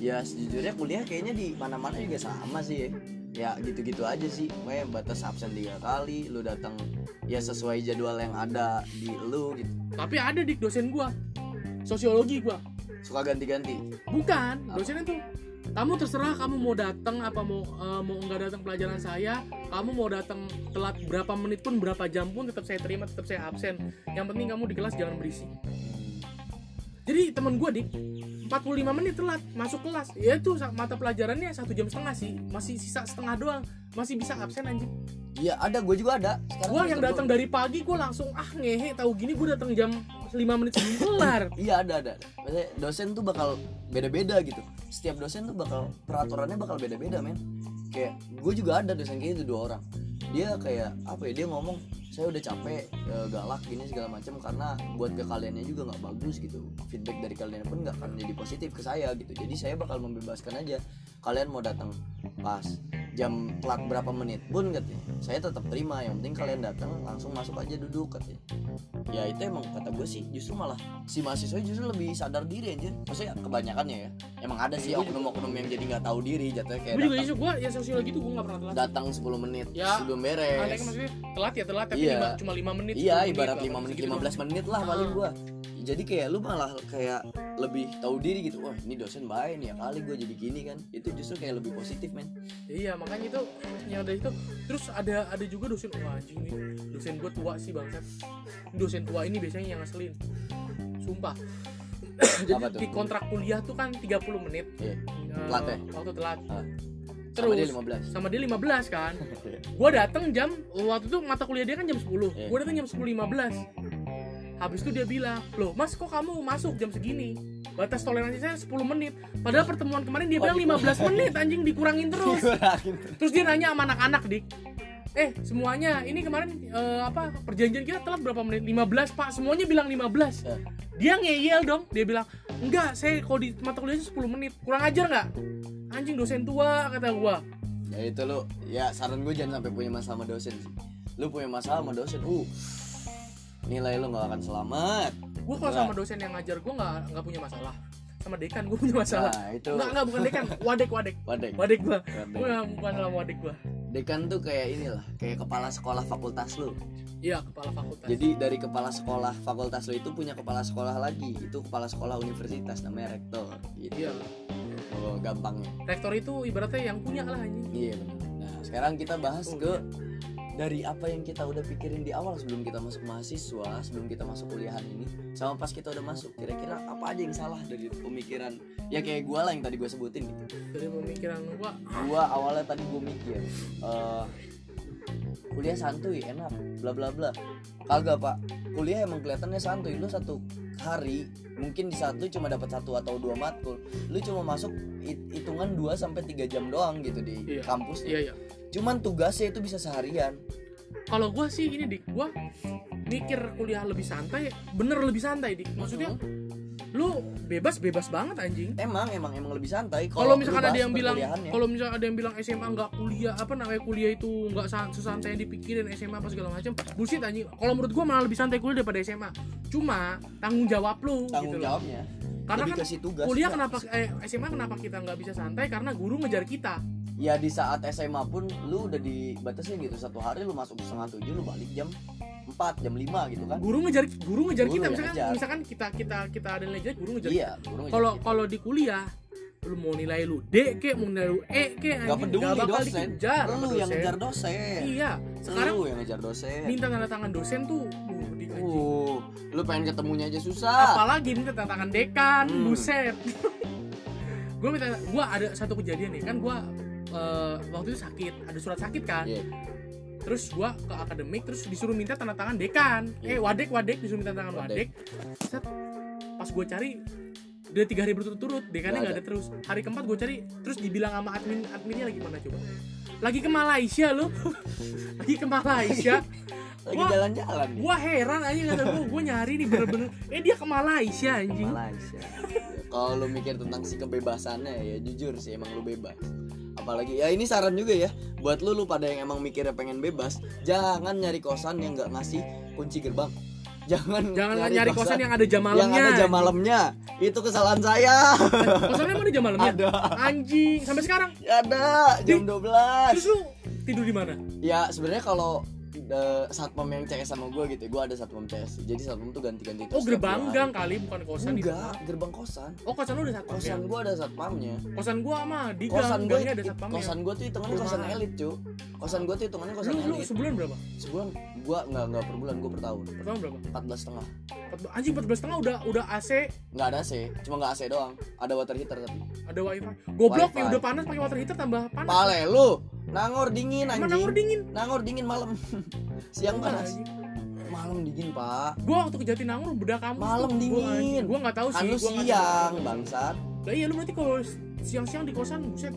S1: ya sejujurnya kuliah kayaknya di mana-mana juga sama sih ya ya gitu-gitu aja sih Pokoknya batas absen tiga kali lu datang ya sesuai jadwal yang ada di lu gitu
S2: tapi ada dik dosen gua sosiologi gua
S1: suka ganti-ganti
S2: bukan dosennya tuh kamu terserah kamu mau datang apa mau eh, mau nggak datang pelajaran saya kamu mau datang telat berapa menit pun berapa jam pun tetap saya terima tetap saya absen yang penting kamu di kelas jangan berisi jadi temen gue dik 45 menit telat masuk kelas ya itu sa- mata pelajarannya satu jam setengah sih masih sisa setengah doang masih bisa absen anjing
S1: iya ada gue juga ada Sekarang
S2: gue
S1: gua
S2: yang
S1: terbang.
S2: datang dari pagi gue langsung ah ngehe tahu gini gue datang jam 5 menit sebelum kelar
S1: Iya ada ada. Maksudnya dosen tuh bakal beda-beda gitu. Setiap dosen tuh bakal peraturannya bakal beda-beda men. Kayak gue juga ada dosen kayak itu dua orang. Dia kayak apa ya dia ngomong saya udah capek e, galak gini segala macam karena buat ke kaliannya juga nggak bagus gitu. Feedback dari kalian pun nggak akan jadi positif ke saya gitu. Jadi saya bakal membebaskan aja kalian mau datang pas jam telat berapa menit pun katanya saya tetap terima yang penting kalian datang langsung masuk aja duduk katanya ya itu emang kata gue sih justru malah si mahasiswa justru lebih sadar diri anjir maksudnya kebanyakannya ya emang ada sih oknum-oknum yang jadi nggak tahu diri jatuhnya kayak
S2: gue Iya, juga
S1: datang,
S2: isu gue ya sosiologi tuh gue nggak pernah telat
S1: datang 10 menit
S2: Ya,
S1: sebelum
S2: Aneh
S1: beres
S2: maksudnya telat ya telat tapi
S1: Iya.
S2: lima- cuma 5 menit
S1: iya
S2: 10
S1: ibarat
S2: lah,
S1: 5 menit
S2: segitu doang.
S1: 15 menit lah paling
S2: Ah.
S1: gue jadi kayak lu malah kayak lebih tahu diri gitu wah ini dosen baik nih ya kali gue jadi gini kan itu justru kayak lebih positif men
S2: Iya makanya itu yang dari itu terus ada ada juga dosen wah anjing nih dosen gue tua sih bangsat dosen tua ini biasanya yang ngeselin sumpah
S1: Apa
S2: jadi
S1: tuh?
S2: di kontrak kuliah tuh kan 30 menit
S1: iya
S2: eh,
S1: Telat ya?
S2: waktu telat
S1: Ah. sama
S2: terus
S1: dia 15
S2: sama dia 15 kan gue datang jam waktu itu mata kuliah dia kan jam 10
S1: Iya.
S2: gue datang jam 10.15 habis itu dia bilang loh mas kok kamu masuk jam segini batas toleransi saya 10 menit padahal pertemuan kemarin dia bilang 15 menit anjing dikurangin terus
S1: Iya. Kurangin.
S2: Terus dia nanya sama anak-anak, Dik. Eh, semuanya ini kemarin eh, apa perjanjian kita telat berapa menit? 15, Pak. Semuanya bilang 15.
S1: Ya.
S2: Dia ngeyel dong. Dia bilang, "Enggak, saya kalau di mata kuliahnya 10 menit. Kurang ajar nggak?" Anjing dosen tua kata gua.
S1: ya itu lu ya saran gue jangan sampai punya masalah sama dosen sih lu punya masalah sama dosen uh nilai lu nggak akan selamat
S2: Gua kalau
S1: Nah.
S2: sama dosen yang ngajar gua nggak nggak punya masalah. Sama dekan gua punya masalah.
S1: nah itu
S2: Enggak, enggak bukan dekan, wadek, wadek.
S1: wadek
S2: Wadek gua.
S1: Wadek.
S2: Gua nggak bukan sama wadek gua.
S1: dekan tuh kayak inilah kayak kepala sekolah fakultas lu
S2: Iya, kepala fakultas.
S1: jadi dari kepala sekolah fakultas lu itu punya kepala sekolah lagi itu kepala sekolah universitas namanya rektor gitu
S2: iya.
S1: oh, gampangnya
S2: Rektor itu ibaratnya yang punya lah anjing.
S1: Iya benar. Nah sekarang kita bahas
S2: Oh,
S1: ke dari apa yang kita udah pikirin di awal sebelum kita masuk mahasiswa, sebelum kita masuk kuliahan ini, sama pas kita udah masuk, kira-kira apa aja yang salah dari pemikiran? Ya kayak gua lah yang tadi gue sebutin gitu
S2: Dari pemikiran gua,
S1: gua awalnya tadi gua mikir eh, kuliah santuy enak bla bla bla kagak pak kuliah emang kelihatannya santuy lu satu hari mungkin di satu cuma dapat satu atau dua matkul lu cuma masuk hit- hitungan 2 sampai tiga jam doang gitu di
S2: Iya.
S1: kampus
S2: iya iya.
S1: cuman tugasnya itu bisa seharian
S2: kalau gue sih ini dik gue mikir kuliah lebih santai bener lebih santai dik maksudnya
S1: Hmm.
S2: lu bebas bebas banget anjing
S1: Mm-hmm. emang emang emang lebih santai
S2: kalau
S1: lu
S2: misalkan
S1: bahas
S2: ada yang bilang
S1: perkuliahannya.
S2: kalau misalkan ada yang bilang SMA nggak kuliah apa namanya kuliah itu nggak san- sesantai yang dipikirin SMA apa segala macam bullshit anjing kalau menurut gue malah lebih santai kuliah daripada SMA cuma tanggung jawab lu
S1: tanggung
S2: gitu loh.
S1: jawabnya
S2: karena
S1: lebih ke
S2: kan
S1: si tugas
S2: kuliah
S1: Pak.
S2: kenapa eh, SMA kenapa kita nggak bisa santai karena guru ngejar kita
S1: ya di saat SMA pun lu udah dibatasin gitu satu hari lu masuk setengah tujuh lu balik jam 4 jam 5 gitu kan
S2: guru ngejar guru ngejar
S1: Guru
S2: kita
S1: yang
S2: misalkan
S1: ngejar.
S2: misalkan kita kita kita ada nilai jelek, guru ngejar
S1: iya guru
S2: kalau kalau di kuliah lu mau nilai lu D ke mau nilai lu E ke
S1: nggak
S2: anjing
S1: peduli
S2: nggak bakal
S1: dosen
S2: dikejar sama
S1: lu yang
S2: dosen.
S1: ngejar dosen
S2: iya sekarang
S1: lu yang ngejar dosen
S2: minta tanda tangan dosen tuh uh, di anjing.
S1: uh lu pengen ketemunya aja susah
S2: apalagi minta tanda tangan dekan
S1: Ah. Hmm.
S2: buset gue minta gue ada satu kejadian nih kan gue waktu itu sakit ada surat sakit kan
S1: Iya.
S2: terus gue ke akademik terus disuruh minta tanda tangan dekan eh
S1: Iya.
S2: wadek wadek disuruh minta tanda tangan wadek,
S1: Wadek.
S2: Set. pas gue cari udah tiga hari berturut-turut dekannya
S1: Nggak
S2: nggak ada terus hari keempat gue cari terus dibilang sama admin adminnya lagi mana coba lagi ke Malaysia loh lagi ke Malaysia
S1: lagi
S2: Gua-
S1: jalan-jalan nih
S2: gue heran aja kata gue gue nyari nih bener-bener eh dia ke Malaysia anjing
S1: Malaysia kalau lu mikir tentang si kebebasannya ya jujur sih emang lu bebas apalagi ya ini saran juga ya buat lu lu pada yang emang mikirnya pengen bebas jangan nyari kosan yang nggak ngasih kunci gerbang jangan
S2: Jangan nyari kosan yang ada jam malamnya.
S1: yang ada jam malamnya itu kesalahan saya
S2: Kosannya emang ada jam malamnya?
S1: Ada.
S2: Anjing, sampai sekarang.
S1: ada jam
S2: Di-
S1: 12
S2: Terus lu tidur di mana? Oh,
S1: ya sebenarnya kalau eh, satpam yang CS sama gue gitu gue ada satpam CS jadi satpam tuh ganti-ganti
S2: Oh,
S1: terus setiap
S2: gerbang
S1: bulan.
S2: gang kali, bukan kosan di
S1: enggak gerbang kosan
S2: Oh, kosan lu ada satpam ya?
S1: kosan gue ada satpamnya
S2: Kosan gua mah di gang,
S1: kosan gue
S2: gangnya ada satpamnya.
S1: kosan gue tuh hitungannya kosan
S2: Perumahan.
S1: elit cu kosan gue tuh hitungannya kosan
S2: lu, lu
S1: elit
S2: sebulan berapa?
S1: sebulan gue nggak nggak per bulan gue per tahun
S2: Pertama berapa?
S1: 14 setengah
S2: 14 Anjing 14 setengah udah udah AC,
S1: nggak ada AC cuma nggak AC doang ada water heater tapi
S2: ada wifi. Goblok,
S1: Wifi.
S2: ya udah panas pakai water heater tambah panas.
S1: pale lu nangor dingin
S2: Emang
S1: anjing
S2: nangor dingin.
S1: nangor dingin malam siang panas
S2: Anjing.
S1: malam dingin pak
S2: Gua waktu ke Jatinangor bedak kampus.
S1: Malam
S2: tuh.
S1: dingin.
S2: Gua anjing, Gua enggak tahu Oh, sih,
S1: kan lu
S2: gua nggak
S1: siang
S2: tahu.
S1: bangsat
S2: Lah iya lu berarti kalau siang-siang di kosan buset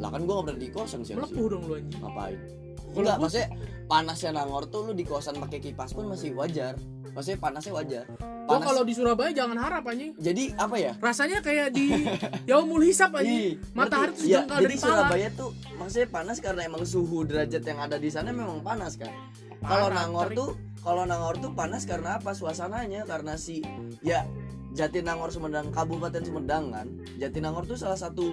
S1: lah kan gua nggak pernah di kosan sih
S2: melepuh dong lu anjing.
S1: ngapain
S2: Kalau
S1: enggak
S2: gua-
S1: maksudnya panasnya nangor tuh lu di kosan pakai kipas pun masih wajar maksudnya panasnya wajar
S2: Gua
S1: panas
S2: kalau di Surabaya jangan harap anjing.
S1: jadi apa ya
S2: rasanya kayak di Yaumul Hisab aja.
S1: Ih,
S2: Matahari
S1: ngerti.
S2: tuh
S1: Iya,
S2: sejengkal
S1: jadi
S2: dari pala.
S1: Surabaya tuh maksudnya panas karena emang suhu derajat yang ada di sana memang panas kan. Kalau
S2: Parah,
S1: Nangor
S2: terik.
S1: tuh kalau Nangor tuh panas karena apa? Suasananya karena si ya Jatinangor Sumedang Kabupaten Sumedang kan. Jatinangor tuh salah satu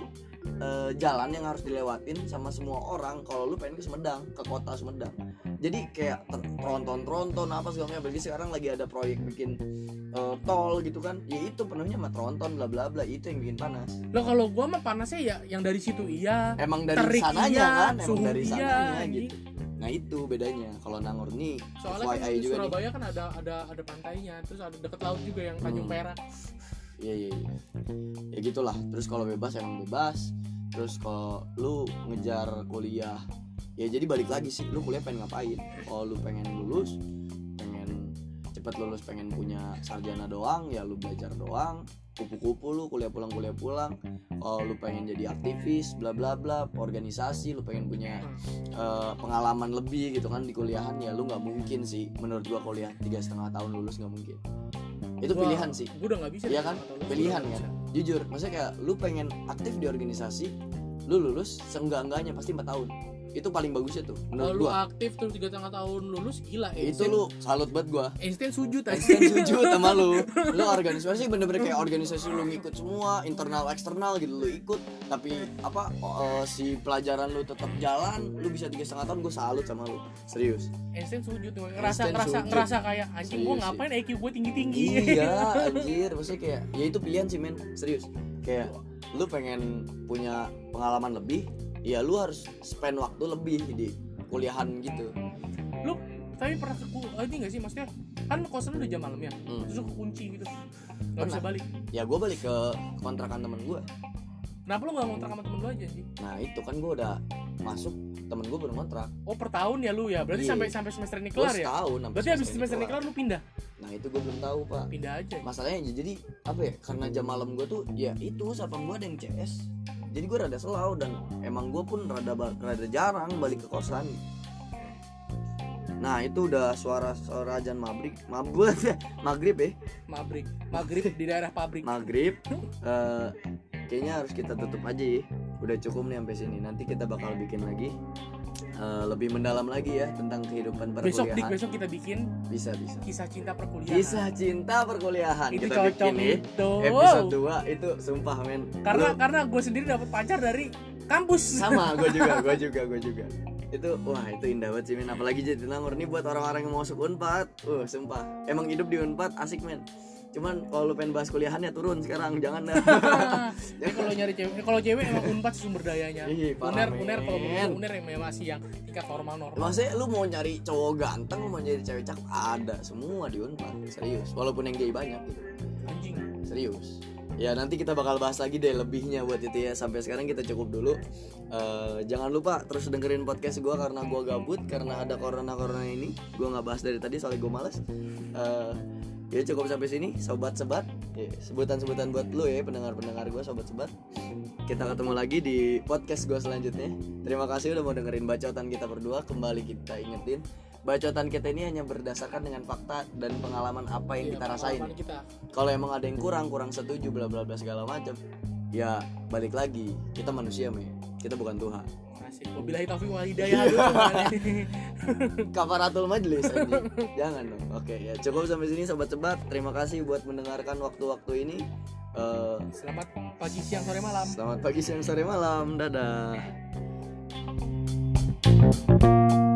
S1: eh, jalan yang harus dilewatin sama semua orang kalau lu pengen ke Sumedang, ke kota Sumedang. Jadi kayak ter- tronton-tronton apa segala macam. Apalagi sekarang lagi ada proyek bikin eh, tol gitu kan. Ya itu penuhnya sama tronton bla bla bla itu yang bikin panas
S2: Lah kalau gua mah panasnya ya yang dari situ iya.
S1: emang dari
S2: Terik
S1: sananya
S2: iya,
S1: kan emang
S2: suhu
S1: dari
S2: iya,
S1: sananya
S2: anjing.
S1: gitu nah itu bedanya kalau Nangor nih
S2: Soalnya
S1: FYI
S2: kan di
S1: juga nih
S2: Surabaya kan ada ada ada pantainya, terus ada deket laut juga yang Tanjung
S1: Hmm.
S2: Perak.
S1: iya iya iya. ya gitulah terus kalau bebas emang bebas terus kalau lu ngejar kuliah ya jadi balik lagi sih lu kuliah pengen ngapain kalau lu pengen lulus pengen cepet lulus pengen punya sarjana doang ya lu belajar doang kupu-kupu lu kuliah pulang kuliah pulang kalau lu pengen jadi aktivis bla bla bla organisasi lu pengen punya eh,
S2: Nah,
S1: pengalaman lebih gitu kan di kuliahan ya lu nggak mungkin sih menurut gua kuliah tiga setengah tahun lulus nggak mungkin itu
S2: Gua-
S1: pilihan sih
S2: Gua udah nggak bisa.
S1: Iya
S2: deh
S1: kan?
S2: sama tau lu.
S1: Pilihan
S2: Gua udah
S1: kan?
S2: nggak
S1: jujur maksudnya kayak lu pengen aktif di organisasi lu lulus seenggak enggaknya pasti empat tahun itu paling bagusnya tuh
S2: bisa. Kalau
S1: menurut
S2: lu
S1: gua
S2: aktif terus tiga setengah tahun lulus gila.
S1: itu
S2: Einstein-
S1: lu salut banget gua
S2: Einstein sujud aja.
S1: Einstein sujud sama lu lu organisasi bener-bener kayak organisasi lu ngikut semua internal eksternal gitu lu ikut tapi apa eh, si pelajaran lu tetap jalan lu bisa tiga setengah tahun gua salut sama lu serius
S2: Einstein sujud. gua Ngerasa
S1: Einstein
S2: ngerasa
S1: sujud.
S2: ngerasa kayak anjing gua
S1: Serius sih.
S2: ngapain IQ gua tinggi tinggi.
S1: iya anjir maksudnya kayak ya itu pilihan sih men serius kayak lu pengen punya pengalaman lebih ya lu harus spend waktu lebih di kuliahan gitu
S2: lu tapi pernah ke ku- eh, ini gak sih maksudnya kan lu kosan udah jam malam ya
S1: Hmm.
S2: terus lu kekunci gitu nggak
S1: Pernah.
S2: bisa balik
S1: ya gue balik ke kontrakan temen gue
S2: kenapa lu nggak ngontrak sama temen lu aja sih
S1: nah itu kan gue udah masuk temen gue baru kontrak
S2: oh per tahun ya lu ya berarti
S1: Iya.
S2: sampai sampai semester ini
S1: gue
S2: kelar ya
S1: setahun sampai
S2: berarti habis semester ini
S1: kelar.
S2: kelar lu pindah
S1: nah itu gue belum tahu pak
S2: pindah aja ya?
S1: masalahnya jadi apa ya karena jam malam gue tuh ya itu siapa gue ada yang CS jadi gue rada selau dan emang gue pun rada ba- rada jarang balik ke kosan nah itu udah suara suara ajan maghrib mabut maghrib ya
S2: mabrik maghrib di daerah pabrik
S1: maghrib Eh, kayaknya harus kita tutup aja ya udah cukup nih sampai sini nanti kita bakal bikin lagi eh, lebih mendalam lagi ya tentang kehidupan
S2: besok Iya. di
S1: perkuliahan
S2: besok kita bikin
S1: bisa bisa
S2: kisah cinta perkuliahan
S1: kisah cinta perkuliahan
S2: itu
S1: kita
S2: cocok
S1: bikin nih
S2: itu
S1: episode 2 Eh, itu sumpah men
S2: Oh, karena
S1: Lu-
S2: karena gue sendiri dapat pacar dari kampus
S1: sama gue juga gue juga gue juga itu wah itu indah banget sih men apalagi Jatinangor nih buat orang-orang yang mau masuk unpad uh sumpah emang hidup di unpad asik men cuman kalau lu pengen bahas kuliahannya turun sekarang jangan dah
S2: Ini kalau nyari cewek, eh, kalau cewek emang unpad sih sumber dayanya.
S1: Ih, Iya, parah,
S2: uner, uner Iya. kalau
S1: men.
S2: belum uner yang masih yang tingkat normal normal.
S1: maksudnya lu mau nyari cowok ganteng mau nyari cewek cakep ada semua di unpad serius walaupun yang gay banyak gitu
S2: Anjing.
S1: serius ya nanti kita bakal bahas lagi deh lebihnya buat itu ya sampai sekarang kita cukup dulu Eh, jangan lupa terus dengerin podcast gua karena gua gabut karena ada corona corona ini gua nggak bahas dari tadi soalnya gua males Eh, ya cukup sampai sini sobat sebat sebutan sebutan buat lu ya pendengar pendengar gua sobat sebat kita ketemu lagi di podcast gua selanjutnya terima kasih udah mau dengerin bacotan kita berdua kembali kita ingetin bacotan kita ini hanya berdasarkan dengan fakta dan pengalaman apa yang
S2: Iya,
S1: kita rasain ya.
S2: pengalaman Kita.
S1: kalau emang ada yang kurang kurang setuju bla bla bla segala macam ya balik lagi kita manusia men kita bukan Tuhan
S2: Asik. Wabillahi taufiq wal hidayah. Aduh, gimana nih?
S1: kafaratul majlis anjing. jangan dong oke ya cukup sampai sini sobat cebat terima kasih buat mendengarkan waktu-waktu ini Eh,
S2: Selamat pagi, siang, sore, malam.
S1: selamat pagi siang sore malam dadah